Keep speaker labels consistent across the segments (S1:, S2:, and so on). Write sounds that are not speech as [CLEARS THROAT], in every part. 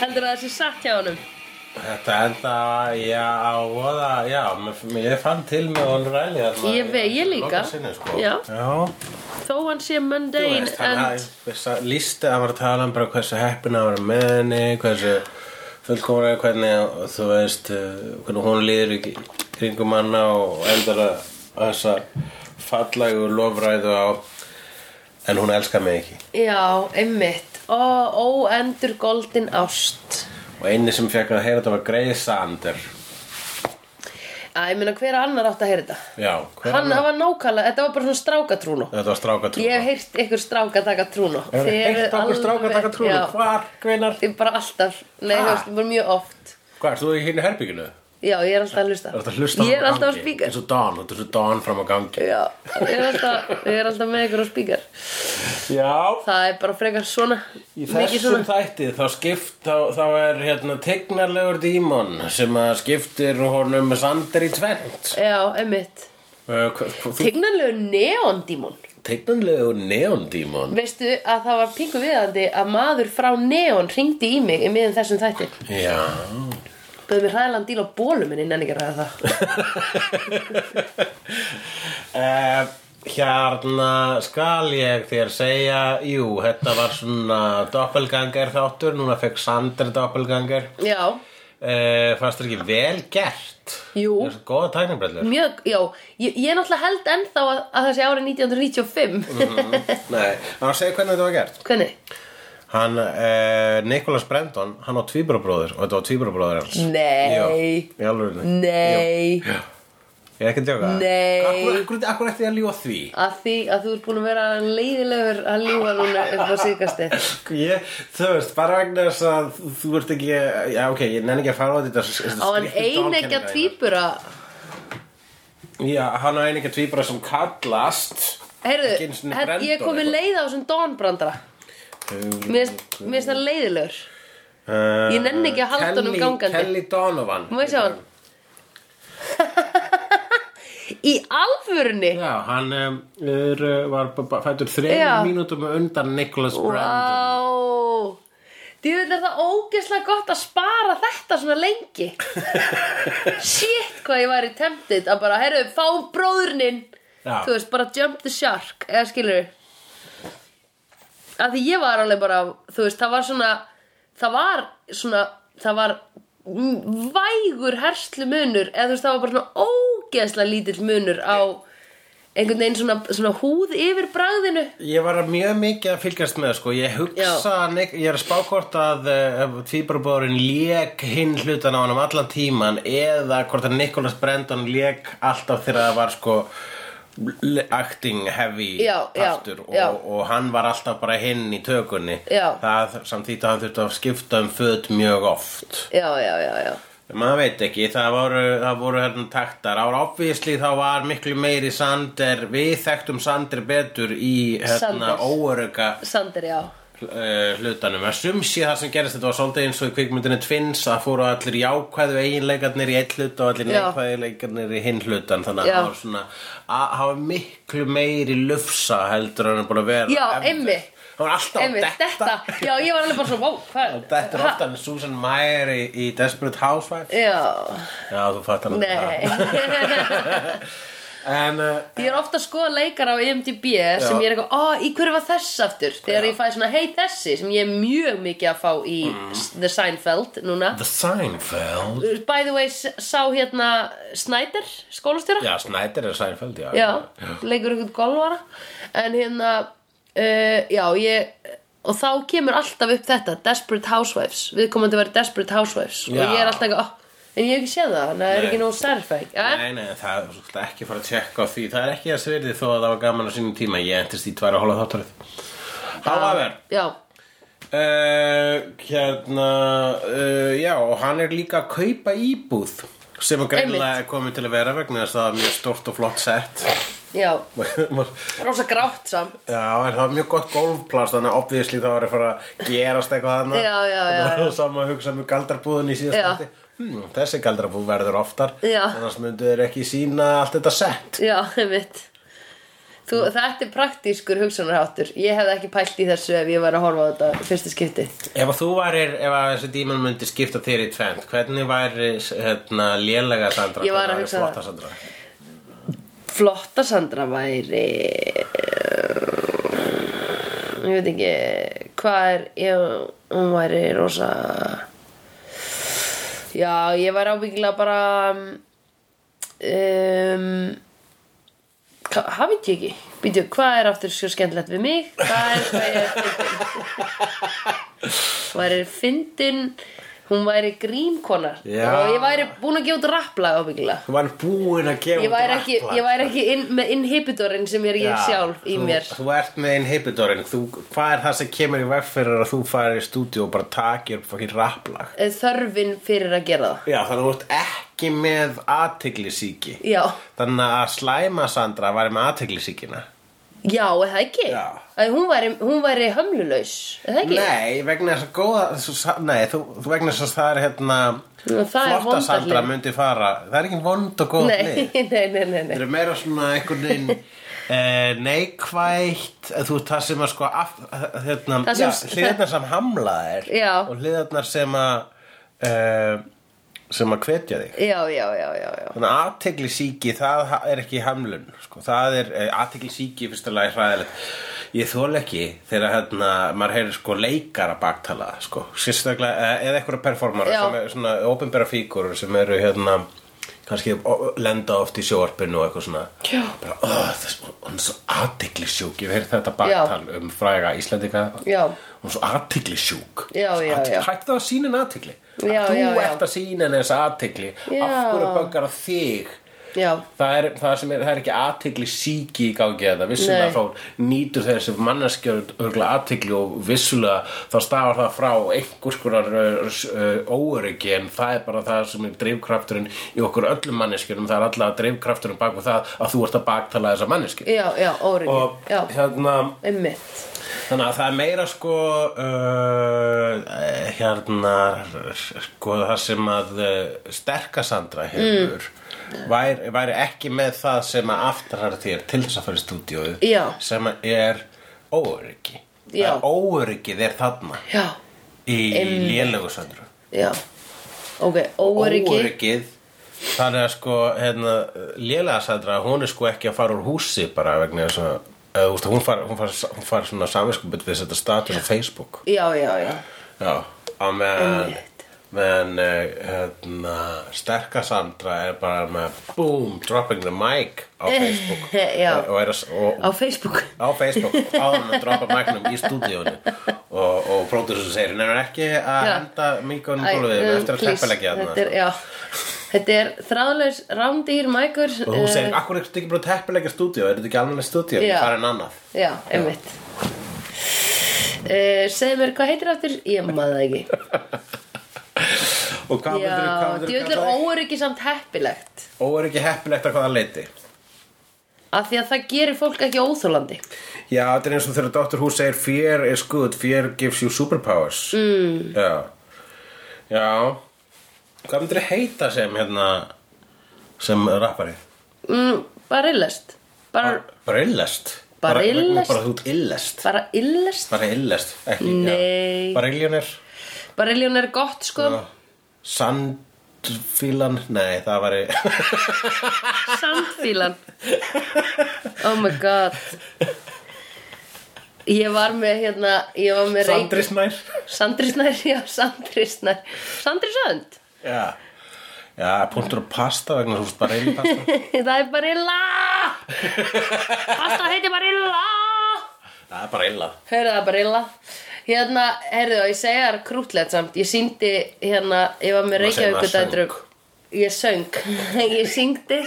S1: heldur að það sé satt hjá honum
S2: Þetta enda, já, voða, já, mér- ég fann til með honum ræli þarna.
S1: Ég vei, ég líka.
S2: Lokasinni, sko.
S1: Já.
S2: Já,
S1: Þó hann sé
S2: þú
S1: mundane
S2: veist, hann
S1: en
S2: hafði lísti að var að tala um bara hversu heppin að vera með henni, hversu fullkomlega hvernig, þú veist, eh, hvernig hún líður í kringum hana og endar að að þessa fallegu lofræðu á, en hún elskar mig ekki.
S1: Já, einmitt Ó, óendur goldin ást
S2: Og eini sem fekk að heyra þetta var Grey Sander.
S1: Æ, ég meina hver annar átt að heyra þetta
S2: Já, hver
S1: Hann
S2: annar-
S1: var nákvæmlega, þetta var bara svona strákatrúnu
S2: Þetta var strákatrúna.
S1: Ég hef heyrt ykkur stráka taka trúnu
S2: Hefur heyrt okkur stráka taka trúna?
S1: Já,
S2: Hvar, hvenar?
S1: ég bara alltaf Nei,
S2: Ha?
S1: þú veist, bara mjög oft
S2: Hvað, ert þú í hérna herbygginu?
S1: Já, ég er alltaf að hlusta
S2: Er þetta hlusta
S1: Ég er alltaf að
S2: spíka
S1: spíkar
S2: Þetta er Don, þetta er Don fram á gangi
S1: Já, ég er alltaf, ég er alltaf með ykkur á spíkar
S2: Já,
S1: Það er bara frekar svona
S2: í
S1: Mikið
S2: þessum
S1: svona
S2: þætti þá skipt þá, þá er hérna tegnarlegur dímon sem að skiptir honum með sandir í tvent
S1: Já, einmitt
S2: uh,
S1: Tignanlegu neondímon
S2: Tegnarlegur neondímon
S1: Veistu að það var pingu viðandi að maður frá Neon ringdi í mig í miðum þessum þætti
S2: Já
S1: Böðu mér hræðilegan díl á bólum en ég nenni ekki að ræða það
S2: uh, Hérna skal ég þér segja Jú, þetta var svona doppelganger þáttur Núna fekk Sander doppelganger
S1: Já,
S2: uh, Fannst þér ekki vel gert?
S1: Jú.
S2: Það er svo góða tækninbrellur
S1: mjög, já Ég, ég er náttúrulega held ennþá að, að það sé árið 1995
S2: Nei, hann segi hvernig þetta var gert
S1: [LAUGHS] Hvernig?
S2: Hann, eh, Nikolas Brendon, hann á tvíburabróður og þetta var tvíburabróður hans
S1: Nei.
S2: Jó, í alveg
S1: Nei
S2: Ég er ekki að djóka
S1: Nei.
S2: Akkur, akkur, akkur eftir ég að ljúa því
S1: Að því að þú ert búin að vera leiðilegur að ljúga núna upp á síðkastu
S2: Ég, þú veist, bara vegna þess að þú ert ekki, já ok, ég nenni ekki að fara á þetta
S1: Á hann einegja tvíbura
S2: Já, hann á einegja tvíbura sem kallast Ekki
S1: Heyrðu,
S2: einu sinni
S1: her, ég er
S2: Brandon
S1: komin
S2: eitthvað.
S1: leið á þessum Dawnbrandara Mér finnst- mér finnst það leiðilegur
S2: uh,
S1: Ég nenni ekki að halda honum
S2: Kelly-
S1: gangandi.
S2: Kelly Donovan
S1: Má ég sjá hann? Í alvörunni?
S2: Já, hann um, er, uh, var b- b- fættur
S1: Já.
S2: þreim mínútum undan Nicholas Brandon
S1: Vá Djúvill er það ógeðslega gott að spara þetta svona lengi
S2: [LAUGHS]
S1: Shit hvað ég væri temptið að bara, herru, fá bróðurninn
S2: Já.
S1: Þú veist, bara jump the shark eða skilur Af því ég var alveg bara, þú veist, það var svona það var svona það var m- vægur herslu munur eða þú veist, það var bara svona ógeðslega lítill munur á einhvern veginn svona, svona húð yfir bragðinu
S2: Ég var mjög mikið að fylgjast með sko. Ég hugsa, Nick, ég er að spá hvort að uh, tvíbarabóðurinn lék hinn hlutan á honum allan tíman eða hvort að Nicholas Brandon lék alltaf þegar það var sko l- acting heavy
S1: Já, já,
S2: partur
S1: já.
S2: Og, og hann var alltaf bara hinn í tökunni
S1: Já.
S2: það samþýtt að hann þurfti að skipta um föt mjög oft
S1: Já, já, já, já
S2: maður veit ekki, það voru, það voru hérna taktar, ára obvísli þá var miklu meiri Sander, við þekktum Sander betur í hérna
S1: Sander.
S2: óöruga
S1: Sander, já
S2: uh, hlutanum að sum sé það sem gerist þetta var svolítið eins og í kvikmyndinu Twins að fóru allir jákvæðu eiginleikarnir í einn hlut og allir
S1: Já.
S2: neikvæðu leikarnir í hinn hlutan þannig
S1: Já.
S2: að það var svona að hafa miklu meiri lufsa heldur en hann er búin að vera
S1: Já,
S2: Ef-
S1: einmitt.
S2: hann var alltaf
S1: Einmitt,
S2: að detta,
S1: þetta, já, ég var alveg bara svona, vó, hvað
S2: þetta er ofta en Susan Meyer í, í Desperate Housewives
S1: Já,
S2: já, þú fattar nú það.
S1: [LAUGHS] nei
S2: en uh,
S1: Ég er ofta að skoða leikar á IMDb sem
S2: Já.
S1: ég er eitthvað, ó, í hverju var þess aftur þegar
S2: Já.
S1: ég fæ svona, hei þessi sem ég er mjög mikið að fá í
S2: Mm.
S1: The Seinfeld núna
S2: The Seinfeld
S1: By the way, s- sá hérna Snyder, skólastjóra
S2: já, Snyder er Seinfeld, já,
S1: já, leikur einhvern golvara en hérna uh, já, ég og þá kemur alltaf upp þetta Desperate Housewives, við komum að vera Desperate Housewives og
S2: Já.
S1: ég er alltaf ekki, oh, en ég hef ekki séð það þannig að það er
S2: Nei.
S1: ekki Eh? nóg særfæk
S2: Nei, nei, það þú ætla ekki að fara að tjekka á því Það er ekki að sverði þó að það var gaman á sínum tíma Ég entist í tværa hóla þáttarið However,
S1: já,
S2: uh, hérna uh, Já, og hann er líka að kaupa íbúð sem að greinlega er komið til að vera vegna þess að það er mjög stórt og flott sett [LAUGHS]
S1: já,
S2: Já,
S1: rosa grátt sam
S2: en það er mjög gott golfplast þannig að obvíðsli það var að fara að gerast eitthvað þarna
S1: Já, já, já,
S2: Það var sama að hugsa með galdrabúðun í
S1: Já.
S2: síðast hm, Þessi galdrabúð verður oftar
S1: Já.
S2: annars myndu þeir ekki sína allt þetta sett
S1: já, [LAUGHS] einmitt Þú, þetta er praktískur hugsunarháttur Ég hefði ekki pælt í þessu ef ég var að horfa á þetta fyrsta skipti
S2: Ef að þú varir, ef að þessi díman myndi skipta þér í tvend, hvernig væri hérna, lélega Sandra?
S1: Ég var að
S2: Hvernig væri
S1: hugsa
S2: flotta
S1: það.
S2: Sandra?
S1: Flotta Sandra væri Ég veit ekki Hvað er ég, Hún væri rosa Já, ég væri ábyggilega bara um, hva- Hvað veit ég ekki? Býtu, hvað er aftur svo skemmtilegt við mig? Hvað er hvað ég er fyndin? væri fyndin Hún væri grímkonar
S2: Já.
S1: Og ég væri búin að gefa út rapplag ábyggilega
S2: Þú væri búin að gefa
S1: ég væri
S2: út
S1: ekki,
S2: rapplag.
S1: ég væri ekki inn, með inhibitorinn sem er ég
S2: Já,
S1: sjálf í
S2: þú-
S1: mér
S2: Þú ert með inhibitorinn, þú, hvað er það sem kemur í veg fyrir að þú farir í stúdíu og bara takir fokkin rapplag?
S1: Eh, þörfin fyrir að gera það
S2: Já, þannig að þú ert ekki með aðteglisíki.
S1: já,
S2: Þannig að slæma Sandra væri með aðteglisíkina.
S1: já, er það ekki
S2: Já.
S1: að hún væri, hún væri hömlulaus er það ekki
S2: Nei, vegna þess að góða, svo, sa- nei, þú, þú vegna þess að það er hérna,
S1: Nú, það er
S2: flotta
S1: vonda
S2: Sandra
S1: hliðin.
S2: myndi fara, það er ekki vond og góð hlið.
S1: nei, [LAUGHS] nei, nei, nei,
S2: Það
S1: nei.
S2: eru meira svona einhvern veginn
S1: [LAUGHS]
S2: eh, neikvætt eh, þú veist það sem að sko af, hérna,
S1: Það
S2: já,
S1: sem-
S2: hliðarnar sem hamla þér
S1: Já.
S2: og hliðarnar sem að eh, sem að hvetja þig
S1: já, já, já, já, já
S2: þannig að aðtegli það ha- er ekki hamlun sko. það er aðtegli síki fyrsta lagi hræðilegt ég þól ekki þegar hérna maður heyrir sko leikara baktala sko. sérstaklega eh, eða einhverja performara
S1: Já.
S2: sem er svona opinbera fígurur sem eru hérna kannski ó- lenda oft í sjóarpinu og eitthvað svona
S1: Já.
S2: bara, "Ugh, þess, hún er svo aðtegli sjúk ég hef heyrt þetta baktal um fræga Íslandika
S1: Já.
S2: hún er svo aðtegli sjúk
S1: Já, já, já.
S2: hættu það að sína henni aðtegli
S1: Já,
S2: þú
S1: já, já.
S2: ert að sína henni þessa aðtegli
S1: Já.
S2: af hverju böggar að þig
S1: já,
S2: það er, það sem er, það er ekki aðtegli síki í gangi að það
S1: Nei.
S2: vissulega frá nýtur þessi manneskjör örgulega aðtegli og vissulega þá stafar það frá einhvers konar óöryggi en það er bara það sem er dreifkrafturinn í okkur öllum manneskjörum það er alltaf dreifkrafturinn bak við það að þú ert að baktala þessa manneskjör
S1: já, já, órinni
S2: og
S1: já,
S2: hérna
S1: einmitt
S2: Þannig að það er meira sko uh, hérna sko það sem að uh, sterka Sandra hefur
S1: Mm.
S2: væri, væri ekki með það sem að aftarar þér til þess að fara í stúdíóið
S1: Já.
S2: sem að er óöryggi
S1: Já.
S2: Það er óöryggið er þarna
S1: já,
S2: í lélegu Sandra
S1: já ok, órinni
S2: Óöryggið þannig að sko hérna, lélega Sandra hún er sko ekki að fara úr húsi bara vegna þess að eða, þú veist, hún far, hún far, hún far svona samvinskupið við þetta status á Facebook
S1: já, já, já,
S2: Já, á meðan
S1: Einmitt.
S2: meðan eh, hérna, sterka Sandra er bara með boom, dropping the mic á Facebook
S1: Eh, [LAUGHS] Já.
S2: og er að, og,
S1: á Facebook
S2: á Facebook áður en að droppa mæknum í stúdíónu og, og pródusur segir hann er ekki að
S1: Já.
S2: henda mikonum
S1: Æ,
S2: gólfið
S1: um,
S2: eftir að
S1: please,
S2: teppilegja
S1: þetta er,
S2: þarna sko."
S1: já Þetta er þráðlaus rándýr mækur
S2: og hún segir, akkur er þetta ekki bara að teppilegja stúdíó er þetta ekki alveg stúdíó,
S1: eh, Já.
S2: það er en annað
S1: Já, einmitt uh, Segðu mér, hvað heitir aftur? Ég maður það ekki
S2: og hvað
S1: Já,
S2: myndir hvað myndir
S1: djöfull er óöryggi samt heppilegt
S2: og er ekki heppilegt að hvaða leiti
S1: Af því að það gerir fólk ekki óþólandi
S2: Já, þetta er eins og þegar Dr. Who segir Fear is good, fear gives you superpowers mm. Já Já Hvað myndir heita sem hérna sem rappari?
S1: mm, Bara illest Bara,
S2: Bara illest
S1: Bara illest?
S2: Bara þú ert illest
S1: bara illest
S2: Bara illest, ekki
S1: Nei.
S2: já. Bara illjónir
S1: Bara illjóna er gott, sko
S2: Sandfílan, nei, það var
S1: Sandfílan Oh my god Ég var með hérna Ég var
S2: [LAUGHS]
S1: með reyk-
S2: Sandrisnær
S1: Sandri Snær, já, Sandri Snær Sandri Sönd
S2: Já Já, punktur og pasta vegna þú veist bara illpasta
S1: [LAUGHS] Það er [LAUGHS] Barilla Pasta heiti Barilla
S2: [LAUGHS] Það er bara illa
S1: Heyrðu það Barilla Hérna, heyrðu það, ég segja þar krútlegt samt Ég síndi hérna, ég var með
S2: Þú varst hérna að
S1: Reykjavíkur dætrum Ég söng, [LAUGHS] ég
S2: [LAUGHS]
S1: syngdi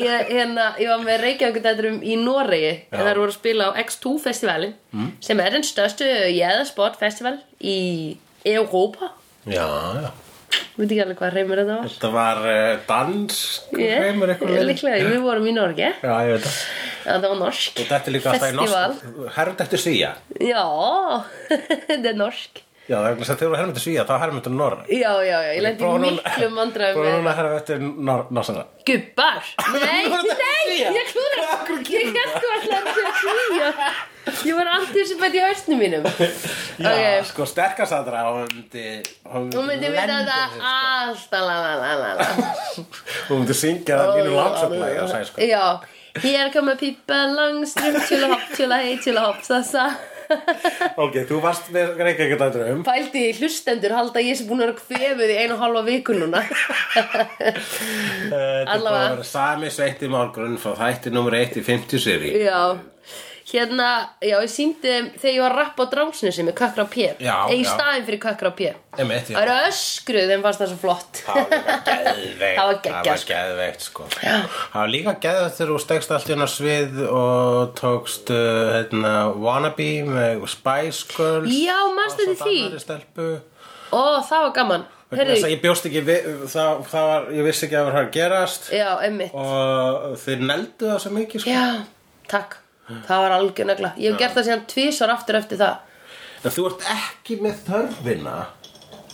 S1: ég, hérna, ég var með Reykjavíkur dætrum í Noregi
S2: Já. Mm.
S1: En þær voru að spila á X2 festivalin Sem er den størstu jæðasport festival í Europa
S2: Já, já
S1: Veit ekki alveg hvað reymur þetta var
S2: Þetta var uh, dans Hreimur eitthvað
S1: Ég-
S2: leið.
S1: Líklega, við vorum í Norge
S2: Já, ég veit það
S1: Það var norsk
S2: Og þetta er líka alltaf í
S1: Festival.
S2: norsk Herrund eftir svíja
S1: [LAUGHS] Já, þetta er norsk
S2: Já, vegna þess að þeir voru hermyndu svíja, þá hermyndu norra.
S1: Já, já, já, ég lendi
S2: Prófa
S1: í
S2: núna-
S1: miklum
S2: [LAUGHS]
S1: vandræðum
S2: Prófa
S1: með
S2: núna að herra eftir
S1: [LAUGHS]
S2: norsara.
S1: Gubbar Nei,
S2: Nú er þetta
S1: nei,
S2: svíja.
S1: ég klúra Ég held þú alltaf að þetta svíja Ég var antisipætt í hausnum mínum
S2: Já,
S1: Ok.
S2: sko, sterkast aðra, hún myndi...
S1: Hún myndi vita
S2: lendi
S1: þetta
S2: sig,
S1: alltaf Ah, la, la, la, la, la.
S2: sko. Hún myndi syngja það mínu langsöfnlega, já, sæði sko.
S1: Já, hér koma pípa langströmm Tjúla hopp, tjúla hei, tjúla hopp, sassa [LAUGHS]
S2: Ok, þú varst með reyngar ekkert að draum.
S1: Pældi í hlustendur halda að ég sé búin að vera kvefuð í einu og halva viku núna [LAUGHS] Allavega.
S2: Allavega. Eh, Sami sveitti málgrunn frá þætti nummer 1 í 50 seri.
S1: Já, hérna, já, ég síndi þeim þegar ég var að rappa á drámsnesi með kökra P
S2: Já,
S1: Egin
S2: já.
S1: staðin fyrir kökra P
S2: Emmett, já.
S1: Það eru öskruð, þeim fannst [LAUGHS] það svo flott [LAUGHS]
S2: Það var geðveikt
S1: Það var
S2: Það
S1: geggjað,
S2: var
S1: sko.
S2: geðveikt sko Það var líka geðveikt þegar þú stegst allt inn á svið og tókst uh, hérna, Wannabe með Spice Girls
S1: Já, manstu
S2: ásamt
S1: eftir því?
S2: annarri stelpu.
S1: Ó, það var gaman
S2: Vegna þess sko. að
S1: Herri,
S2: Ég bjóst ekki við, það, það var, ég vissi ekki að það var að gerast
S1: já, emmitt
S2: og þeir neldu það svo mikið sko.
S1: Eh. Já, takk Það var algjör negla Ég hef gert það síðan tvisar aftur eftir það
S2: En þú ert ekki með þörfina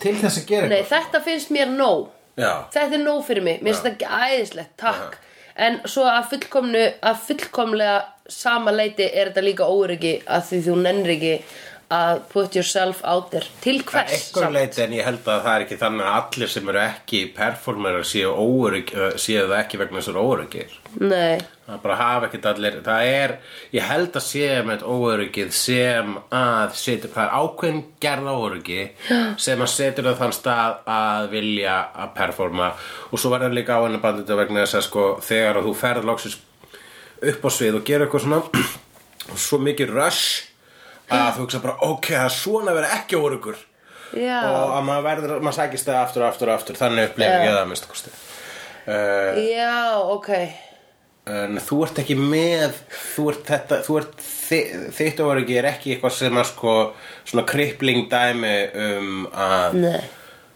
S2: til þess að gera
S1: Nei, þetta finnst mér nóg
S2: Já,
S1: Þetta er nóg fyrir mig, mér finnst þetta æðislegt, takk En svo að, fullkomnu, að fullkomlega sama leiti er þetta líka óryggi að því þú nennir ekki að put yourself out there Til
S2: að
S1: hvers?
S2: einhver leiti en ég held að það er ekki þannig að allir sem eru ekki performerar séu, óörygg, ö, séu það ekki vegna þessar óöryggir
S1: Nei,
S2: Það er bara að hafa ekkert allir, það er, ég held að sé með óöryggið sem að setja, það er ákveðin gerð óöryggi sem að setja það þann stað að vilja að performa og svo verður líka á henni bandið vegna þess að sko þegar að þú ferð loksins upp á svið og gera eitthvað svona [CLEARS THROAT] svo mikið rush að þú hugsa bara ok, það er svona að vera ekki óöryggur
S1: já
S2: og að maður verður, maður sækist það aftur og aftur og aftur, þannig upplifir
S1: Já.
S2: ég það að minnsta kosti. Uh,
S1: Já, ok
S2: En þú ert ekki með, þú ert þetta, þú ert þi, þitt óryggi er ekki eitthvað sem að sko svona kripling dæmi um að
S1: Nei,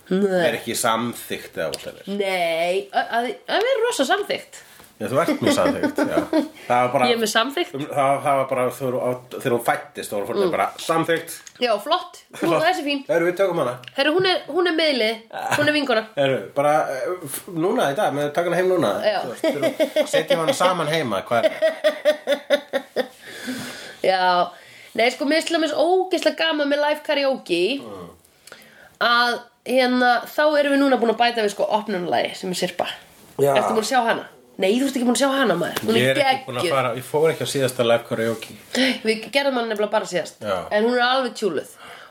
S2: það
S1: nei
S2: er ekki samþykkt eða útlæðir.
S1: Nei, að- að það er rosa samþykkt
S2: Já, þú ert með samþykkt, já. Það var bara,
S1: Ég er með samþykkt
S2: um, það, það var bara þegar þú- þegar hún fættist, þá var fórnir bara samþykkt.
S1: Já, flott, hún er þessi fín
S2: Erum við tökum hana?
S1: Herru, hún er, hún er meðlið, hún er vinkona
S2: Erum við bara eh, f- núna í dag, með að taka hana heim núna.
S1: Já.
S2: Þú veist, þurfum- Setjum hana saman heima, hvað er það?
S1: Já, nei sko mér slum eins ógeðslega gaman með live karaoke
S2: Mm.
S1: að hérna þá erum við núna búin að bæta við sko opnunlagi sem er sirpa
S2: Já.
S1: Ertu búin að sjá hana? Nei, þú ert ekki búin að sjá hana maður Hún
S2: Ég er
S1: er
S2: ekki búin að
S1: geggjuð
S2: fara, ég fór ekki á síðasta live karaoke.
S1: Við gerðum hann nefnilega bara síðast
S2: Já.
S1: En hún er alveg tjúluð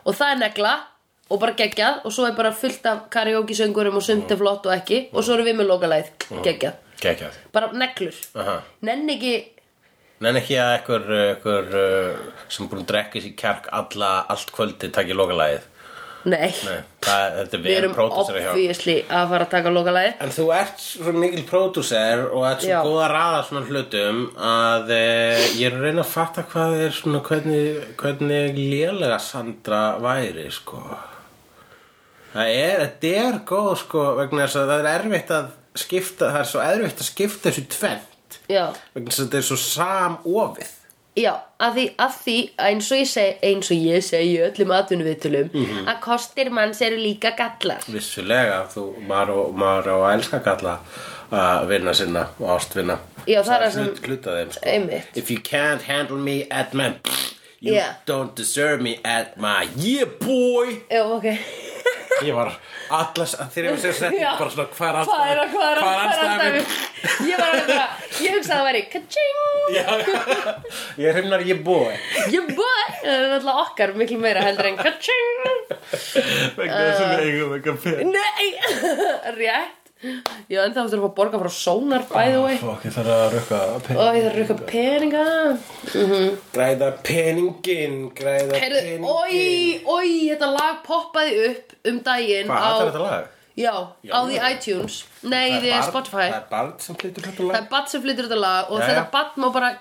S1: Og það er negla og bara geggjað Og svo er bara fullt af karaoke söngurum og sumt er
S2: Mm.
S1: flott og ekki Og svo erum við með lokalæð geggjað
S2: Kekjað.
S1: Bara neglur
S2: Aha.
S1: Nenn ekki
S2: Nenn ekki að ekkur, ekkur uh, sem búin að drekka sér kjark alla, allt kvöldi takk í lokalagið.
S1: Nei,
S2: Nei, það, þetta er
S1: Við
S2: verið
S1: erum
S2: pródúsera hjá.
S1: obviously að fara að taka lokalæð
S2: En þú ert svo mikil pródúser og ert svo
S1: Já.
S2: góð að raða svona hlutum að e, ég er að reyna að fatta hvað er svona hvernig, hvernig lélega Sandra væri sko. Það er, þetta er góð sko vegna þess að það er erfitt að skipta, það er svo erfitt að skipta þessu tvent
S1: Já
S2: vegna þess að þetta er svo samofið.
S1: Já, að því, að því eins og ég segi, eins og ég segi í öllum atvinnuviðtölum að kostir manns eru líka gallar
S2: Vissulega, þú, maður og, maður og elska kalla að vinna sinna og ástvinna
S1: Já, það er það
S2: hlut,
S1: sem-
S2: hluta þeim sko
S1: Einmitt.
S2: If you can't handle me at my You
S1: Yeah.
S2: don't deserve me at my Yeah boy
S1: Já, ok
S2: [LAUGHS] Ég var allas, þegar ég var sér sett
S1: Já.
S2: bara svona hvar
S1: Hvað er að, hvað er að,
S2: hvar
S1: hvað er að
S2: andstæðan
S1: dæmi?
S2: mín?
S1: Ég var alveg bara, ég hugsaði að það væri Kaching,
S2: Já, [LAUGHS] Ég hrifnar yeah boy
S1: ég búið Það er alltaf okkar miklu meira heldur en Kaching
S2: Vegna þess
S1: Uh,
S2: að við eigum eitthvað fyrir
S1: Nei, [LAUGHS] rétt Já, en þá þurfum að borga frá sónar by the way
S2: Fokk, ég þarf að rukka að pe-
S1: Ó, ég þarf að rukka peninga
S2: Græða peningin, græða
S1: Heyrðu,
S2: peningin
S1: oi, oi, þetta lag poppaði upp um daginn á-
S2: Hvað, hattar þetta lag?
S1: Já,
S2: Já,
S1: á því
S2: já.
S1: iTunes Nei,
S2: Það
S1: því
S2: barn-
S1: Spotify
S2: Það er barn sem flytur þetta
S1: Það er
S2: lag
S1: badd sem flyttur þetta lag og
S2: Jæja.
S1: þetta badd má bara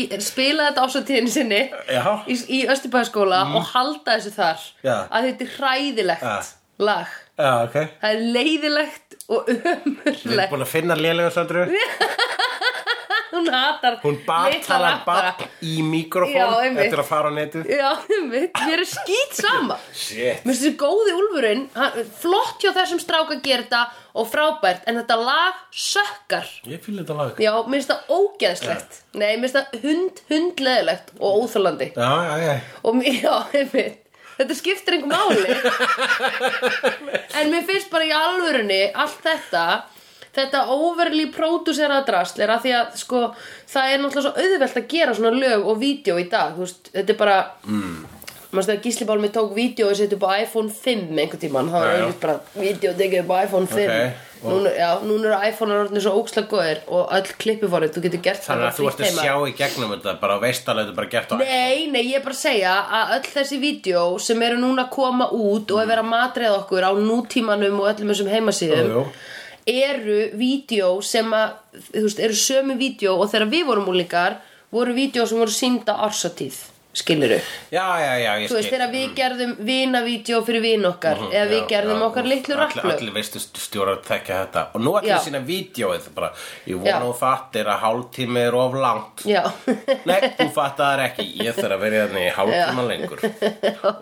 S1: ge- spila þetta ásatíðin sinni
S2: Já.
S1: í, í Östubæðaskóla og halda þessu þar
S2: Mm. Já.
S1: að þetta er hræðilegt
S2: Ja.
S1: lag
S2: Já, Ah. ok
S1: Það er leiðilegt og
S2: Við erum
S1: ömurlegt
S2: búin að finna lélega söndru
S1: hún hatar
S2: Hún
S1: litla
S2: batalar
S1: rappara.
S2: batt í mikrofón
S1: Já, einmitt.
S2: eftir að fara á netið.
S1: Já, einmitt, mér er skýt
S2: [LAUGHS]
S1: sama
S2: Shit.
S1: Mér finnst þessi góði úlfurinn hann- Flott hjá þessum strák að gera þetta Og frábært, en þetta lag sökkar
S2: Ég fýla þetta lag.
S1: Já, mér finnst það ógeðslegt Nei, mér finnst það hund, hundleðilegt Og óþálandi
S2: Já, já, já.
S1: Og mér, já, einmitt Þetta skiptir einhver máli En mér finnst bara í alvörunni Allt þetta Þetta overly producerað drasl er að því að sko, það er náttúrulega svo auðvelt að gera svona lög og vídeo í dag þú veist, þetta er bara mm. manstu að Gísli Bálmi tók vídeo og setja upp á iPhone 5 einhvern tímann, það var
S2: Já, já.
S1: auðvitað bara vídeo tekið upp á iPhone 5
S2: Ok, og-
S1: núna, já, núna eru iPhone orðinu svo ókslega góðir og öll klippiforrið, þú getur gert
S2: Þannig
S1: bara
S2: að þú
S1: frítt
S2: ert að
S1: heima.
S2: sjá í gegnum þetta, bara veist alveg þetta er bara gert á
S1: Nei, nei, ég er bara að segja að öll þessi vídeo sem eru núna að koma út
S2: Mhm.
S1: og er verið að matreða okkur á nútímanum og öllum þessum heimasíðum
S2: Jú, jú.
S1: eru vídeo sem að, þú veist, eru sömu vídeo og þegar við vorum úlingar voru vídeo sem voru sínda ársatíð, skilurðu?
S2: Já, já, já, ég skil. Mm. Mhm,
S1: Þú veist, þegar við gerðum vinavídeó fyrir vin okkar eða við
S2: Já,
S1: gerðum
S2: já,
S1: okkar
S2: og
S1: litlu
S2: allir-
S1: rapplög
S2: Allir veistu stjórar tekja þetta Og nú ætlum
S1: Já.
S2: við sína vídjóið bara Ég
S1: Já.
S2: vona þú fattir að hálftími er of langt
S1: Já,
S2: Nei, þú fattar ekki Ég þarf að vera hérna í hálftíma lengur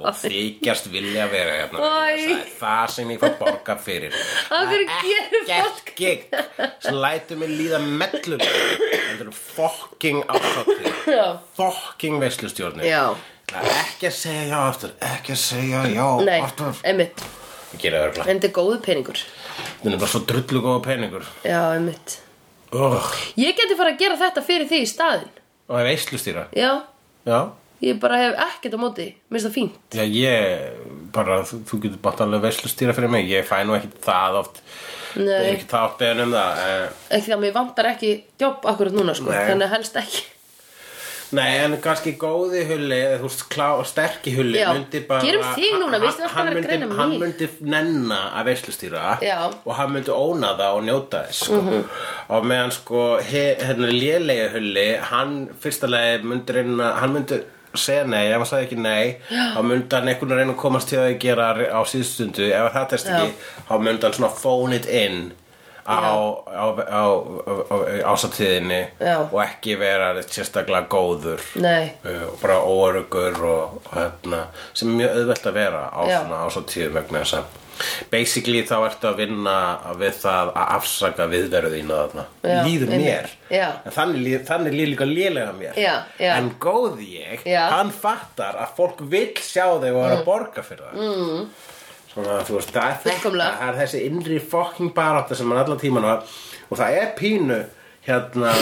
S2: Og þykjast vilja vera hérna
S1: Oj.
S2: Það er Það sem ég fór borga fyrir
S1: Af hverju
S2: Það er
S1: gerir
S2: Ekkert gig sem lætur mig líða mellur Þetta eru fokking áttátti
S1: Já.
S2: Fokking veislustjórnir
S1: Já.
S2: Það er ekki að segja já aftur Ekki að segja já
S1: nei,
S2: aftur
S1: einmitt
S2: Ég gera það örgla
S1: En þetta er góðu peningur
S2: Þetta er bara svo drullu góða peningur
S1: Já, einmitt
S2: Ugh.
S1: Ég geti fara að gera þetta fyrir því í staðinn
S2: Og það er veislustýra
S1: Já,
S2: Já
S1: Ég bara hef ekkert á móti, mér finnst það fínt
S2: Já, ég, bara, þú, þú getur bátt alveg veislustýra fyrir mig Ég fæ nú ekki það oft
S1: Nei.
S2: Ég er ekki það oft beðin um það eh,
S1: Ekki það að mér vantar ekki jobb akkurat núna sko
S2: Nei.
S1: Þannig að helst ekki
S2: Nei, en kannski góði hulli eða Þú veist, klá, sterki hulli
S1: Já.
S2: myndi bara,
S1: Gerum þig núna, veistu, þú ert
S2: hann
S1: bara að
S2: myndi-
S1: greina mig.
S2: Hann myndi nenna að veislustýra
S1: Já. Mhm.
S2: Og hann myndi óna það og njóta þess sko. Og meðan sko, he, hérna, lélega hulli Hann, fyrsta leið, myndi reyna Hann myndi segja nei, ef hann sagði ekki nei þá myndi hann einhvern veginn reyna að komast til að gera á síðstundu, ef hann hattast
S1: Já.
S2: ekki þá myndi hann svona phone it in á, á, á, á, á, á ásatíðinni
S1: Já.
S2: og ekki vera sérstaklega góður
S1: Nei,
S2: uh, og bara óörugur og, og hérna, sem er mjög auðvelt að vera á
S1: Já.
S2: svona á svo tíðum vegna þess að basically þá ertu að vinna við það að afsaka viðveru þína þarna,
S1: Já,
S2: líður mér
S1: einmitt. Já.
S2: en þannig líður, þannig líður líka lélega mér
S1: Já, já.
S2: en góð ég
S1: Já.
S2: hann fattar að fólk vill sjá þau og er að borga fyrir það mm. svona þú veist, það er þetta
S1: Fullkomlega.
S2: það er þessi innri fucking barátta sem hann allan tíman var og það er pínu hérna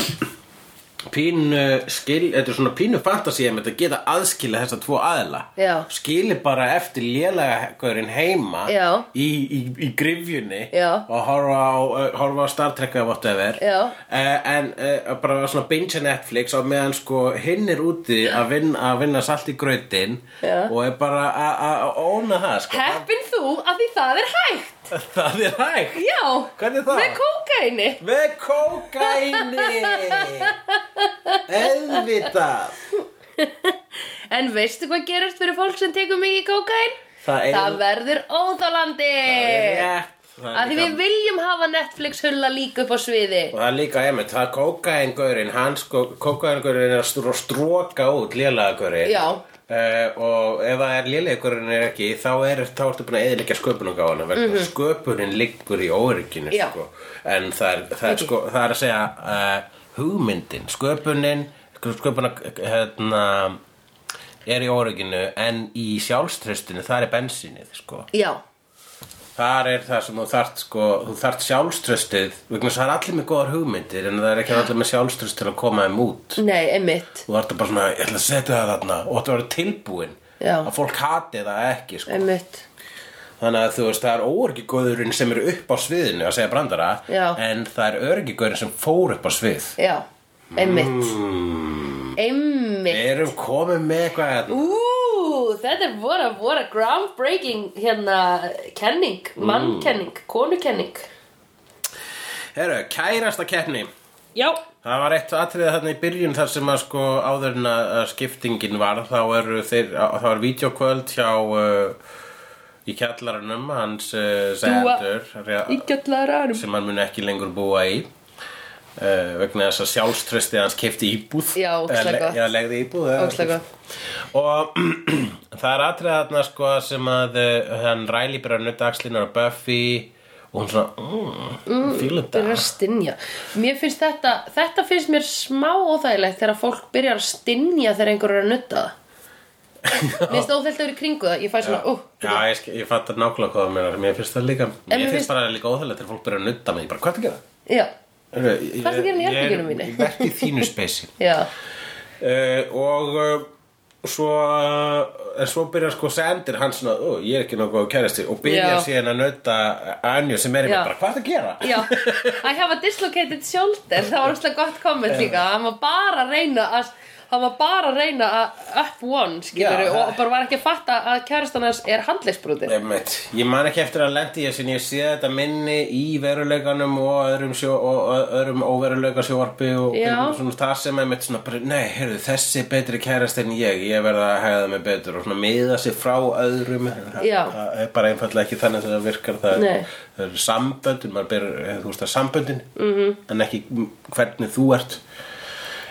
S2: pínu skil, þetta er svona pínu fantasía með þetta geta aðskila þessa tvo aðila
S1: Já.
S2: skili bara eftir lélægurinn heima
S1: Já.
S2: í, í, í grifjunni
S1: Já.
S2: og horfa á, uh, horfa á Star Trek eða whatever
S1: Já.
S2: uh, en uh, bara svona binge Netflix og meðan sko hinn er úti að vinna, að vinna salt í grötin
S1: Já.
S2: og er bara að- að að óna það sko.
S1: heppin þú af því það er hægt
S2: [LAUGHS] það er hægt
S1: Já,
S2: Hvernig það?
S1: með kókaini [LAUGHS]
S2: Með kókaini Elvitað
S1: En veistu hvað gerist fyrir fólk sem tekur mikið kókain?
S2: Það er-
S1: Það verður óþálandi
S2: Það
S1: Eh, Af
S2: er
S1: því
S2: líka-
S1: við viljum hafa Netflix hulla líka upp á sviði
S2: Og það er líka einmitt, það er kókaingaurinn, hann sko, kókaingaurinn er að stró- stróka út lélægaurinn.
S1: Já.
S2: og ef það er lélægaurinn er ekki, þá er, þá ertu búin að eðilegja sköpunungáðana, vegna mm sköpunin liggur í órygginu,
S1: Mhm. Já.
S2: sko. En það er, það er, sko, það er að segja uh, hugmyndin, sköpunin, sko, sköpuna, hérna, er í órygginu, en í sjálfströstinu, það er bensinið, sko.
S1: Já,
S2: Þar er það sem þú þart sko, þú þart sjálfströstið vegna þess að það er allir með góðar hugmyndir en það er ekki allir með sjálfströst til að koma þeim út
S1: nei, einmitt
S2: Þú þart bara svona, ég ætla að setja það þarna og þetta verður tilbúin
S1: Já.
S2: að fólk hati það ekki sko.
S1: Einmitt
S2: þannig að þú veist, það er óörgigóðurinn sem er upp á sviðinu að segja brandara
S1: Já.
S2: en það er örgigóðurinn sem fór upp á svið
S1: Já, einmitt
S2: Mm.
S1: Einmitt
S2: Við erum komið með eitthvað hérna
S1: Ú, þetta er voru, voru groundbreaking hérna kenning, mannkenning, konukenning.
S2: Herru, kærasta keppni
S1: Já.
S2: Það var eitt atriðið þarna í byrjun þar sem að sko áður en að að skiptingin var þá eru þeir, á- þá er vídeokvöld hjá uh, í kjallarunum hans uh, Sandur
S1: Í gjallara
S2: sem hann mun ekki lengur búa í Uh, vegna þess að sjálfströsti hans kefti íbúð
S1: Já, ógeðslega
S2: Eða le-
S1: gott.
S2: já, legði íbúð eða-
S1: Ógeðslega
S2: og [CLEARS THROAT] það er atriða þarna sko sem að uh, hann Riley byrjar að nutta axlinar á Buffy og hún svona mm, mm, fílum
S1: byrjar
S2: það
S1: að stinja mér finnst þetta, þetta finnst mér smá óþægilegt þegar fólk byrjar að stinja þegar einhver er að nutta það mér finnst óþægilegt að vera í kringu það ég fæ svona, ó,
S2: Já, ég, sk- ég fattar nákvæmlega hvað það meina Mér finnst það líka, mér
S1: mér
S2: finnst,
S1: finnst-
S2: bara líka óþægilegt þegar fólk byrjar að nutta mig, ég bara, hvað ertu að gera?
S1: já,
S2: Hvað ertu
S1: ertu að gera inni í herberginu mínu?
S2: Ég verki þínu spesi
S1: já
S2: uh, og uh, svo uh, en svo byrjar sko sendir hann svona, ó, ég er ekki nokkuð kærasti og
S1: Já.
S2: byrjar síðan að nauta Anju sem er í
S1: Já.
S2: mig bara, hvað er það að gera?
S1: Já,
S2: [LAUGHS]
S1: I have a dislocated shoulder Það var úrslega gott komment líka Hann var bara að reyna að Hann var bara að reyna að up one skilur,
S2: Já,
S1: og bara var ekki að fatta að kærastan hans er handlegsbrúti
S2: Einmitt. Ég man ekki eftir að lendi ég sem ég sé þetta minni í veruleikanum og öðrum, sjó, og, og öðrum óveruleika sjóvarpi og
S1: Já.
S2: og svona það sem er mitt svona bara, nei, heyrðu, þessi er betri kærast en ég, ég verða að hegða mig betur og svona miða sig frá öðrum Það-
S1: Já.
S2: það er bara einfallega ekki þannig sem það virkar það
S1: Nei.
S2: er, það er samböndin, maður ber þú veist það samböndin mm
S1: Mhm.
S2: -hmm. en ekki hvernig þú ert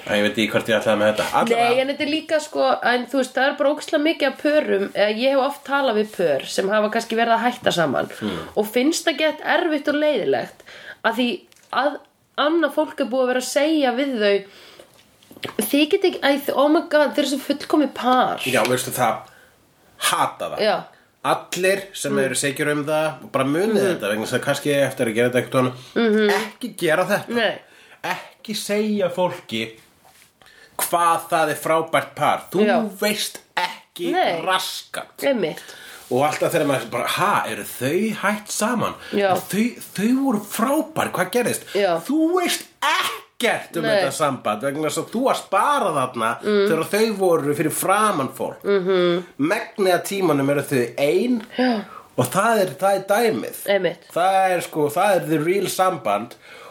S2: en ég veit ekki hvort ég ætlaði með þetta
S1: Nei,
S2: Allavega-
S1: en þetta er líka sko en þú veist, það er bara ókslega mikið af pörum eða ég hef oft talað við pör sem hafa kannski verið að hætta saman
S2: Hmm.
S1: og finnst það gett erfitt og leiðilegt að því að annað fólk er búið að vera að segja við þau þið get ekki, æ, þið- oh my god þeir eru svo fullkomi par
S2: Já, veistu það Hata það
S1: Já. Mm.
S2: Allir sem eru segjur um það bara munið
S1: Mhm.
S2: þetta vegna þess að kannski eigi eftir að gera þetta eitthvað mm -hmm. ekki gera þetta
S1: Nei.
S2: ekki segja fólki hvað það er frábært par þú
S1: Já.
S2: veist ekki
S1: Nei.
S2: raskat
S1: Einmitt.
S2: og alltaf þegar maður bara, ha, eru þau hætt saman
S1: Já.
S2: þau, þau voru frábær, hvað gerðist
S1: Já.
S2: þú veist ekkert um
S1: Nei. Mm.
S2: þetta samband vegna þess að þú varst bara þarna þegar þau voru fyrir framan fólk mm
S1: Mhm.
S2: -hmm. megnið að tímanum eru þau ein Já. og það er, það er dæmið
S1: Einmitt.
S2: það er sko, það er the real samband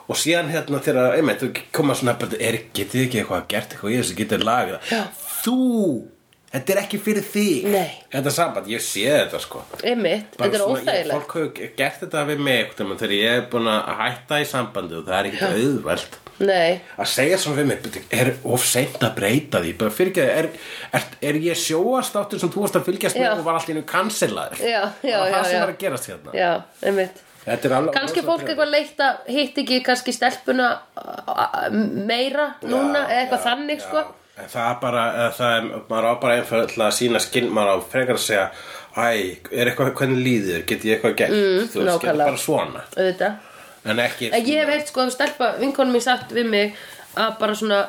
S2: og síðan hérna þegar, einmitt, þú koma svona bara, er, getið þið ekki eitthvað gert eitthvað í þessu, getið lagað það?" þú, þetta er ekki fyrir þig
S1: Nei.
S2: þetta samband, ég sé þetta sko
S1: Einmitt,
S2: Bara
S1: þetta er
S2: svona, ég-
S1: óþægilegt
S2: fólk hefur gert þetta við mig einhvern tímann þegar ég er búin að hætta í sambandi og það er ekkert auðvelt
S1: Nei,
S2: að segja svona við mig, "Bíddu, er of seint að breyta því, bara fyrir ekki er, er, er ég sjóast áttur sem þú varst að fylgjast
S1: Já.
S2: með og var allt í einu kansilaður
S1: Já, já,
S2: það var
S1: já,
S2: það sem
S1: já.
S2: var að gerast hérna
S1: já, einmitt
S2: Þetta er alveg-
S1: Kanski fólk eitthvað leitt að hitt ekki kannski stelpuna a- a- meira núna eða eitthvað þannig sko
S2: En það er bara, eða það er, maður á bara einfallega að sína skinn, maður á frekar að segja Æ, er eitthvað, hvernig líður, get ég eitthvað gert, mm, þú veist,
S1: nákvæmlega.
S2: getur bara svona
S1: auðvitað
S2: En ekki,
S1: En ég hef heilt sko að stelpa vinkonum mín sagt við mig að bara svona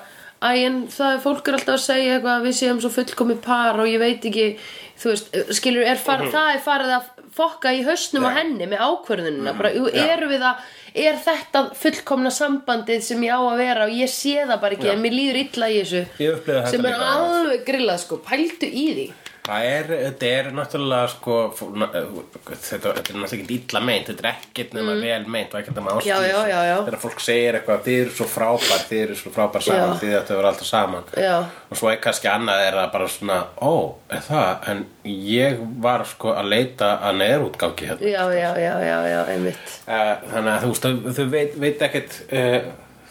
S1: Æ, en það er fólk er alltaf að segja eitthvað að við séum svo fullkomi par og ég veit ekki, þú veist, skilur, er far, það er farið að fokka í hausnum á
S2: Mhm. Já.
S1: henni með ákvörðunina, bara, jú,
S2: já.
S1: erum við að, er þetta fullkomna sambandið sem ég á að vera og ég sé það bara ekki, en mér líður illa í þessu,
S2: Ég upplifði þetta
S1: sem er
S2: líka.
S1: alveg grillað, sko, pældu í því.
S2: Það er, þetta er náttúrulega sko, fó- na- þetta, þetta er náttúrulega ekki illa meint, þetta er ekkert nema vel meint og ekkert nema
S1: Mm.
S2: ástæðis.
S1: Já, já, já, já.
S2: Þegar fólk segir eitthvað, þið eru svo frábær, þið eru svo frábær saman,
S1: Já.
S2: þið ættu að vera alltaf saman.
S1: Já.
S2: Og svo er kannski annað er að bara svona, ó, er það, en ég var sko að leita að neðrútgangi hérna.
S1: Já, já, já, já, já, einmitt.
S2: Uh, þannig að þú veist, þau- þau veit, veit ekkert, uh,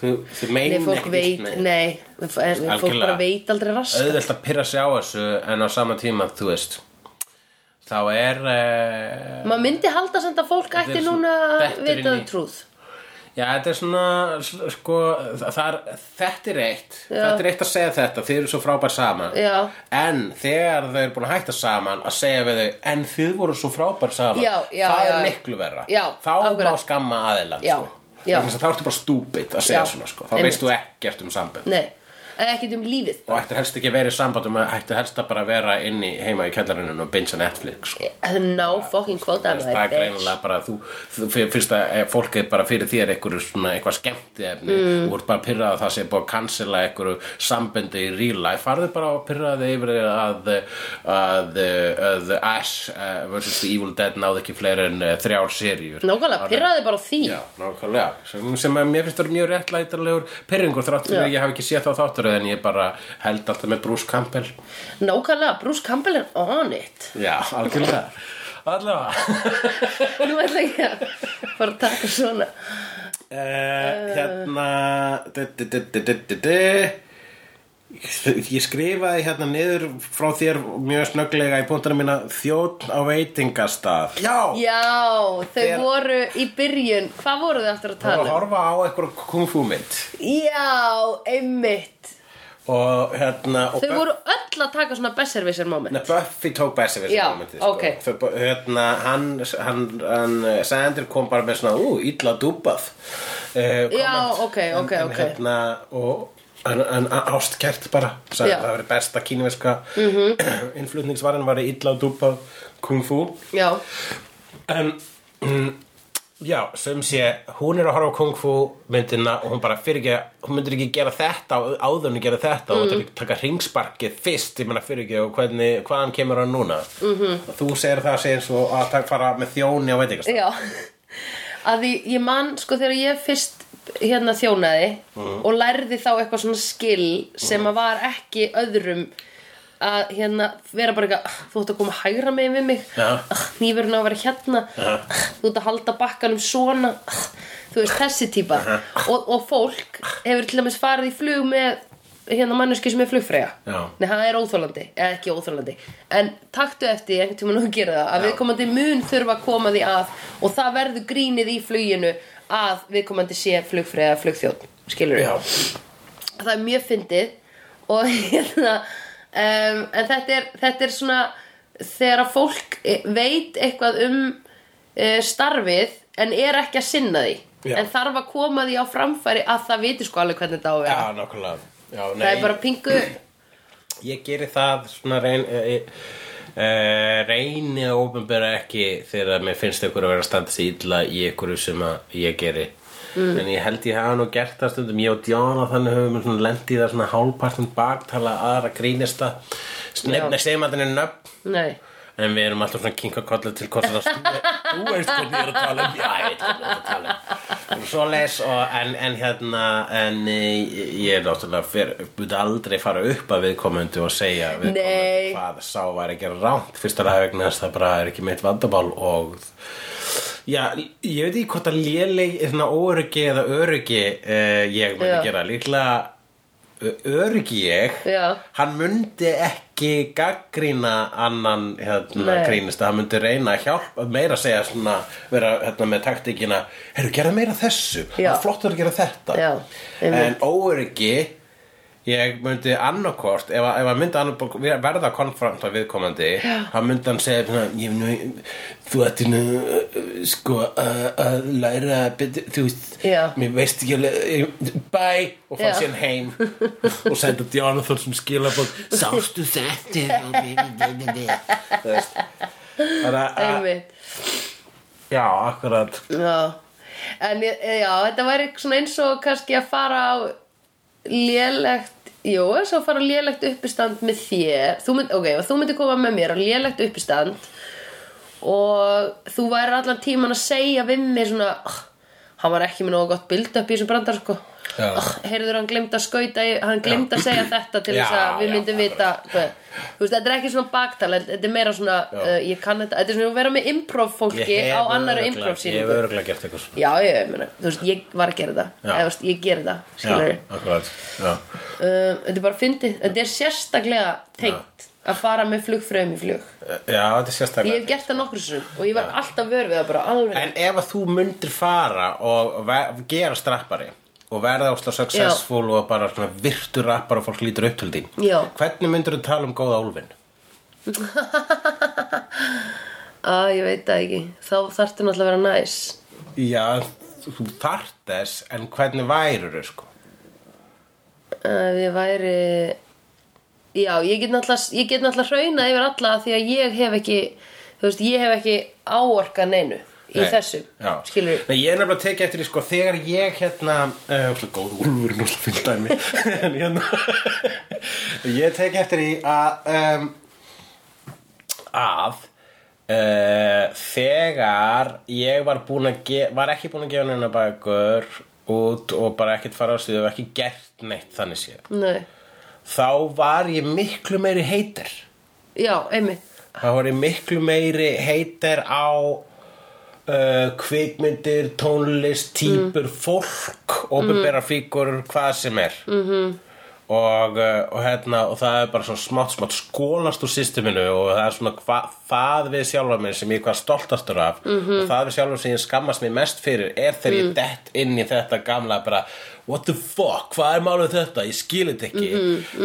S2: þau, þau meina
S1: Nei, fólk veit,
S2: neitt.
S1: nei, en fólk
S2: Algjörlega.
S1: bara veit aldrei rask.
S2: auðvelt að pyrra sig á þessu en á sama tíma, þú veist þá er uh,
S1: maður myndi halda samt að fólk
S2: Þetta er
S1: ætti
S2: svona
S1: núna að
S2: dettur inn
S1: vita
S2: í-
S1: trúð
S2: já, þetta er svona s- sko, það það er, þetta er eitt þetta er eitt að segja þetta, þið eru svo frábær saman
S1: Já.
S2: en þegar þau eru búin að hætta saman að segja við þau, en þið voru svo frábær saman
S1: Já, já,
S2: það
S1: já.
S2: er miklu verra
S1: Já,
S2: þá
S1: akkurat.
S2: má skamma aðeila
S1: Já,
S2: sko.
S1: já.
S2: Vegna þess að þá ertu bara stúpid að segja
S1: Já,
S2: svona sko. þá
S1: einmitt.
S2: veist þú ekkert um sambönd
S1: nei, eða ekkert um lífið
S2: og ættu helst ekki að vera í sambandum ættu helst að bara vera inn í heima í kjallarinnum og binsa Netflix sko.
S1: ná Eh, fucking kvóta
S2: Þú veist, það er greinilega bara þú, þú fyrst að eh, fólk er bara fyrir þér einhverju svona eitthvað skemmti efni mm. og þú ert bara að pyrrað að það sé búið að cancela einhverju samböndi í real life farðu bara að pyrraði yfir þér að að, að Ash uh, vs. The Evil Dead náði ekki fleiri en uh, þrjár seríur
S1: nákvæmlega, pyrraði bara á því
S2: Já, nákvæmlega, sem, sem að mér finnst það mjög réttlætarlegur pyrringur þrátt fyrir
S1: Já.
S2: að ég hafi ekki séð þá þáttur en ég bara held alltaf með Bruce Campbell
S1: nákvæmlega, Bruce Campbell er on it [LAUGHS]
S2: Já, algjörlega [LAUGHS] Allavega [LAUGHS]
S1: nú ætla ég að fara að taka svona Eh.
S2: Uh, hérna du, du, du, du, du, du, du. Ég skrifaði hérna niður frá þér mjög snögglega í punktana mína Þjótt á veitingastað Já!
S1: Já, þau
S2: Þegar-
S1: voru í byrjun Hvað voru þau aftur að
S2: Það var
S1: tala?
S2: að
S1: um?
S2: horfa á einhver kungfú mynd
S1: Já, einmitt
S2: Og hérna og
S1: Þau voru öll að taka svona besservisser moment
S2: Nei, Buffy tók bæsi við
S1: Já,
S2: þessum momentið,
S1: ok.
S2: sko. Þau- Hérna, hann, hann, hann eh, Sander kom bara með svona, ú, illa dúbað eh,
S1: Já,
S2: komment.
S1: ok, ok,
S2: en,
S1: ok.
S2: En hérna, og en, en ástkert bara sagði,
S1: Já. Mhm.
S2: það verið besta kínuverska mm -hmm. [CLEARS THROAT] innflutningsvaran var illa dúbað kung fu
S1: Já,
S2: en mm, já, sem sé, hún er að horfa á kung fu myndina og hún bara fyrir ekki hún myndir ekki gera þetta og áður en hún gera þetta og hún
S1: Mm.
S2: myndir ekki taka ringsparkið fyrst, ég menna fyrir ekki og hvernig, hvaðan kemur hann núna mm
S1: Mhm.
S2: -hmm. þú segir það, segir svo að það fara með þjóni og veit ekki
S1: já Að því ég man, sko, þegar ég fyrst hérna þjónaði
S2: Mhm.
S1: og lærði þá eitthvað svona skill sem að var ekki öðrum að hérna vera bara eitthvað "Ah, þú ætti að koma hægra megin við mig
S2: Já.
S1: nýfurinn á að vera hérna
S2: Já.
S1: þú ætti að halda bakkanum svona Ah, þú veist þessi típa og, og fólk hefur til dæmis farið í flug með hérna manneski sem er flugfreyja
S2: Já.
S1: nei það er óþólandi, eða ekki óþólandi en taktu eftir því einhvern tímann og gera það að
S2: Já.
S1: viðkomandi mun þurfa að koma því að og það verður grínið í fluginu að viðkomandi sé flugfreyja eða flugþjótt, skilur
S2: Já,
S1: það er mjög fyndið og [LAUGHS] hérna um, en þetta er, þetta er svona þegar að fólk eh, veit eitthvað um uh, starfið en er ekki að sinna því
S2: Já.
S1: en þarf að koma því á framfæri að það viti sko alveg hvernig þetta á að vera
S2: já, nákvæmlega já, nei,
S1: það er bara pingu
S2: [CLEARS THROAT] ég geri það svona reyn, e, e, reyni að ofinbera ekki þegar mér finnst ykkur að vera að standa sig illa í ykkur sem að ég geri en ég held ég hafa nú gert það stundum ég og Djána þannig höfum við svona lent í það svona hálfpartin baktala aðra grínista
S1: Já.
S2: snefna segmandinu nöfn
S1: nei
S2: en við erum alltaf svona kinka kollu til hvort
S1: [LAUGHS]
S2: það þú veist hvernig ég er að tala um já, ég veit hvernig ég er að tala um svo les og en, en hérna en e, ég er náttúrulega fyrir, búið aldrei fara upp að viðkomendu og segja
S1: Nei.
S2: viðkomandi hvað sá var að gera rámt fyrst að það vegna þess það bara er ekki mitt vandabál og já, ég veit ekki hvort að léleg svona óryggi eða öryggi eh, ég myndi
S1: Já.
S2: gera líklega ö- öryggi ég
S1: Já.
S2: hann myndi ekki gaggrína annan hérna,
S1: Nei.
S2: grínist hann myndi reyna að hjálpa meira að segja svona, vera hérna, með taktíkina heyrðu, gera meira af þessu,
S1: Já.
S2: það er flott að gera þetta
S1: Já, einmitt.
S2: en óöryggi ég myndi annarkort ef, að- ef að myndi annarkort verða konfront af viðkomandi þá myndi hann segja svona, ég, nú, þú ætti nú uh, sko að að læra betur, þú veist
S1: Já.
S2: mér veist ekki alveg ég- bye og fann
S1: Já.
S2: síðan
S1: [LAUGHS]
S2: heim og senda Jonathan sem skilabóð sástu þetta
S1: [LAUGHS]
S2: Þú veist, bara að-
S1: einmitt
S2: já, akkurat
S1: Já, en ég- eh, já, þetta væri svona eins og kannski að fara á lélegt, jú, þess að fara á lélegt uppistand með þér þú mynd, ok, og þú myndir koma með mér á lélegt uppistand og þú væri allan tíman að segja við mig svona, "Ah, hann var ekki með nógu gott bild upp í þessum brandar sko
S2: Já.
S1: "Ah, heyrður hann glemt að skauta í- hann glemt að segja þetta til þess
S2: Já,
S1: að við
S2: já,
S1: myndum
S2: akkurat.
S1: vita hvað- þú veist, þetta er ekki svona baktal þetta er meira svona, uh, ég kann þetta þetta er svona að vera með improv fólki á annari
S2: örugglega-
S1: improv
S2: ég hef
S1: síningu
S2: öruglega gert eitthvað svona
S1: Já, ég, ég meina, þú veist, ég var að gera það
S2: Já.
S1: eða, þú veist, ég gera það, skilur
S2: já, akkurat já.
S1: um, Þetta er bara fyndið, þetta er sérstaklega tengt að fara með flugfröðum í flug
S2: já, þetta er sérstaklega
S1: Ég hef gert það nokkru sinum og ég var alltaf vör við það bara alveg
S2: En ef að þú myndir fara og ver- gera strappari og verða ósla successful og bara svona virtur rappar og fólk lítur upp til þín
S1: Já.
S2: hvernig myndir þú tala um góða álfin?
S1: Æ, ég veit það ekki, þá þarftu náttúrulega að vera næs
S2: Já, þú þarft þess en hvernig værur þau sko?
S1: Ef ég væri Já, ég get náttúrulega ég get náttúrulega hraunað yfir alla af því að ég hef ekki þú veist, ég hef ekki áorka neinu í
S2: Nei,
S1: þessum,
S2: já.
S1: skilur
S2: Nei, ég er nefnilega að tekja eftir því sko þegar ég hérna uh, góð úlfur núl fyllt dæmi [LAUGHS] en hérna ég tekja eftir því að um, að uh, þegar ég var búin að ge- var ekki búin að gefa neina bækur út og bara ekkert fara á stuðu og ekki gert neitt þannig séð
S1: Nei,
S2: þá var ég miklu meiri heitir
S1: já, einmitt
S2: Það voru miklu meiri heitir á uh, kvikmyndir, tónlist, típur, fólk, opinbera fígur, hvað sem er. Mm -hmm. Og, uh, og hérna, og það er bara svona smátt, smátt skólast úr systeminu og það er svona hva, það við sjálfa mér sem ég er hvað stoltastur af -hmm. og það við sjálfa sem ég skammast mér mest fyrir er þegar ég dett inn í þetta gamla bara, what the fuck, hvað er málið þetta, ég skil þetta ekki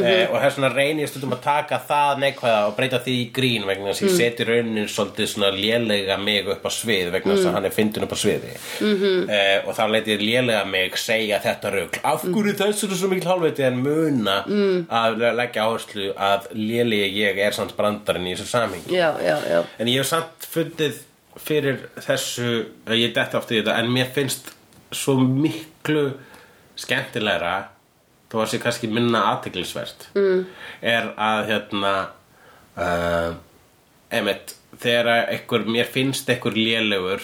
S2: Eh, og það er svona reyni ég stundum að taka það neikvæða og breyta því í grín vegna þess að ég seti raunin svolítið svona lélega mig upp á svið vegna þess að hann er fyndin upp á sviði -hmm. eh, og þá leit ég lélega mig segja þetta rugl af hverju þessu er svo mikil hálfviti en muna mm. að leggja áherslu að lélegi ég er samt brandarinn í þessu samhengi
S1: já, já, já
S2: en ég hef samt fundið fyrir þessu að ég detta oft í þetta en mér finnst svo miklu skemmtilegra þó að sé kannski minna aðteglisvert mm. er að hérna uh, einmitt þegar einhver, mér finnst einhver lélegur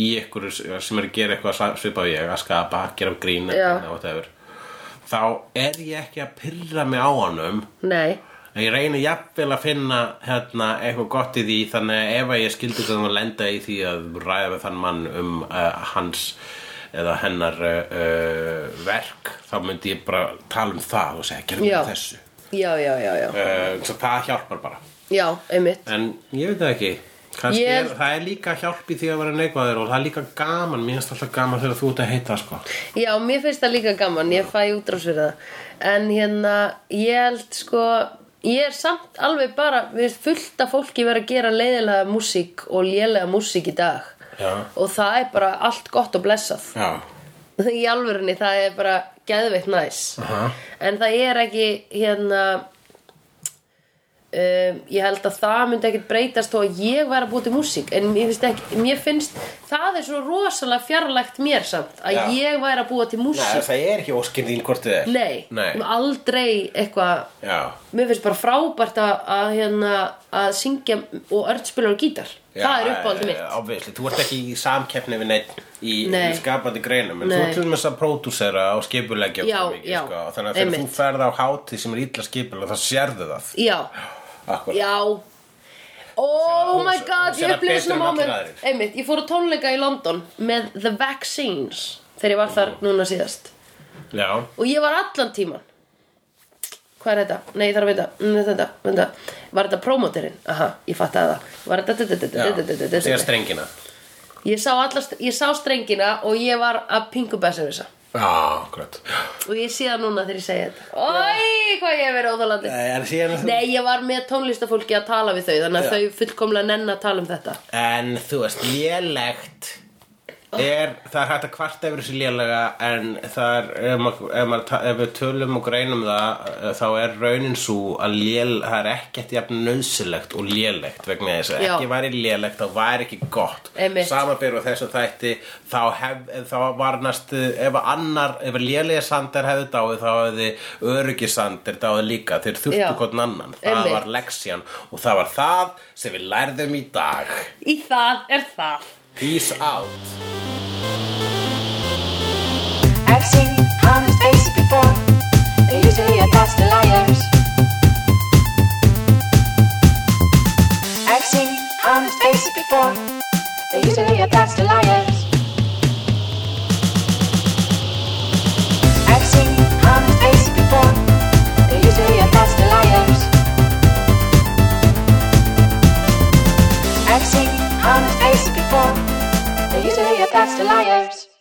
S2: í einhver sem er að gera eitthvað svipað ég að skapa, gera grín
S1: Já.
S2: eða whatever, þá er ég ekki að pyrra mig á honum
S1: Nei,
S2: En ég reyni jafnvel að finna hérna, eitthvað gott í því þannig að ef að ég skildi það að lenda í því að ræða við þann mann um uh, hans eða hennar uh, uh, verk þá myndi ég bara tala um það og segja gerðum
S1: já
S2: við þessu
S1: Já, já, já, já
S2: uh, svo það hjálpar bara
S1: Já, einmitt
S2: en ég veit það ekki Kannski
S1: Ég-
S2: er, það er líka hjálp í því að vera neikvæður og það er líka gaman, mér finnst alltaf gaman þegar þú ert að heita sko.
S1: Já, mér finnst það líka gaman, ég fæ útrás fyrir það En hérna, ég held sko Ég er samt alveg bara Við erum fullt af fólki verið að gera leiðilega músík Og lélega músík í dag
S2: Já.
S1: Og það er bara allt gott og blessað
S2: Já,
S1: Í alvörinni, það er bara geðveitt næs
S2: Aha.
S1: En það er ekki hérna um, Ég held að það myndi ekkit breytast Þó að ég væri að búa til músík En mér finnst, ekki, mér finnst Það er svo rosalega fjarlægt mér samt Að
S2: Já.
S1: ég væri að búa til músík
S2: það er ekki óskinn þín hvort þið er
S1: Nei, um aldrei eitthvað
S2: Já,
S1: Mér finnst bara frábært að, að, hérna, að syngja og ördspilar og gítar Það er uppáhaldið mitt
S2: eh, Obviously, þú ert ekki í samkeppni við neitt í,
S1: Nei.
S2: í skapandi greinum en þú
S1: Nei.
S2: ert til þess að pródúsera og skipulegja
S1: Já,
S2: óskum mikið,
S1: já,
S2: sko. þannig að þegar
S1: einmitt.
S2: þú ferð á hátíð sem er illa skipulega þá sérðu það
S1: Já,
S2: Akkur,
S1: já Oh
S2: Hún-
S1: my
S2: hún
S1: god,
S2: sér
S1: ég
S2: það
S1: upplýði
S2: betur
S1: svona
S2: en allir
S1: moment
S2: aðrir.
S1: Einmitt, ég fór að tónleika í London með The Vaccines þegar ég var þar núna síðast
S2: já,
S1: og ég var allan tíman Hvað er þetta? Nei, ég þarf að veita Mm, þetta, þetta. Var þetta promoterinn? Aha, ég fattaði það Var þetta- þetta
S2: já.
S1: þetta- þetta- þetta- þetta-
S2: sér
S1: þetta-
S2: strengina
S1: Ég sá, allast, ég sá strengina og ég var að pingu bæsa við þessa
S2: Já, akkurat
S1: Og ég sé það núna þegar ég segi þetta Ói, hvað ég hef verið óþálandi
S2: En Eh, síðan-
S1: Nei, ég var með tónlistafólki að tala við þau Þannig að þau fullkomlega nenn að tala um þetta
S2: En þú veist, lélegt er, það er hægt að kvarta yfir þessu lélega en það er, ef, maður, ef, maður, ta- ef við tölum og greinum það eh, þá er raunin svo að lél, það er ekkert jafn nöðsilegt og lélegt vegna þess að
S1: Já.
S2: ekki væri lélegt þá væri ekki gott
S1: Einmitt.
S2: samanbyrðu þessu þætti þá, hef, þá var næstu ef annar, ef lélega Sander hefði dáið þá hefði öryggi Sander dáið líka, þeir
S1: Já.
S2: þurftu hvort annan það
S1: Einmitt.
S2: var leksjan og það var það sem við lærðum í dag
S1: Í það er það
S2: Peace out.
S3: I've seen honest faces before. They're usually a pass to liars. I've seen honest faces before. They're usually a pass to liars. I've seen honest faces before. They're usually a pass to liars. I've seen honest faces before. They're usually a pass to liars.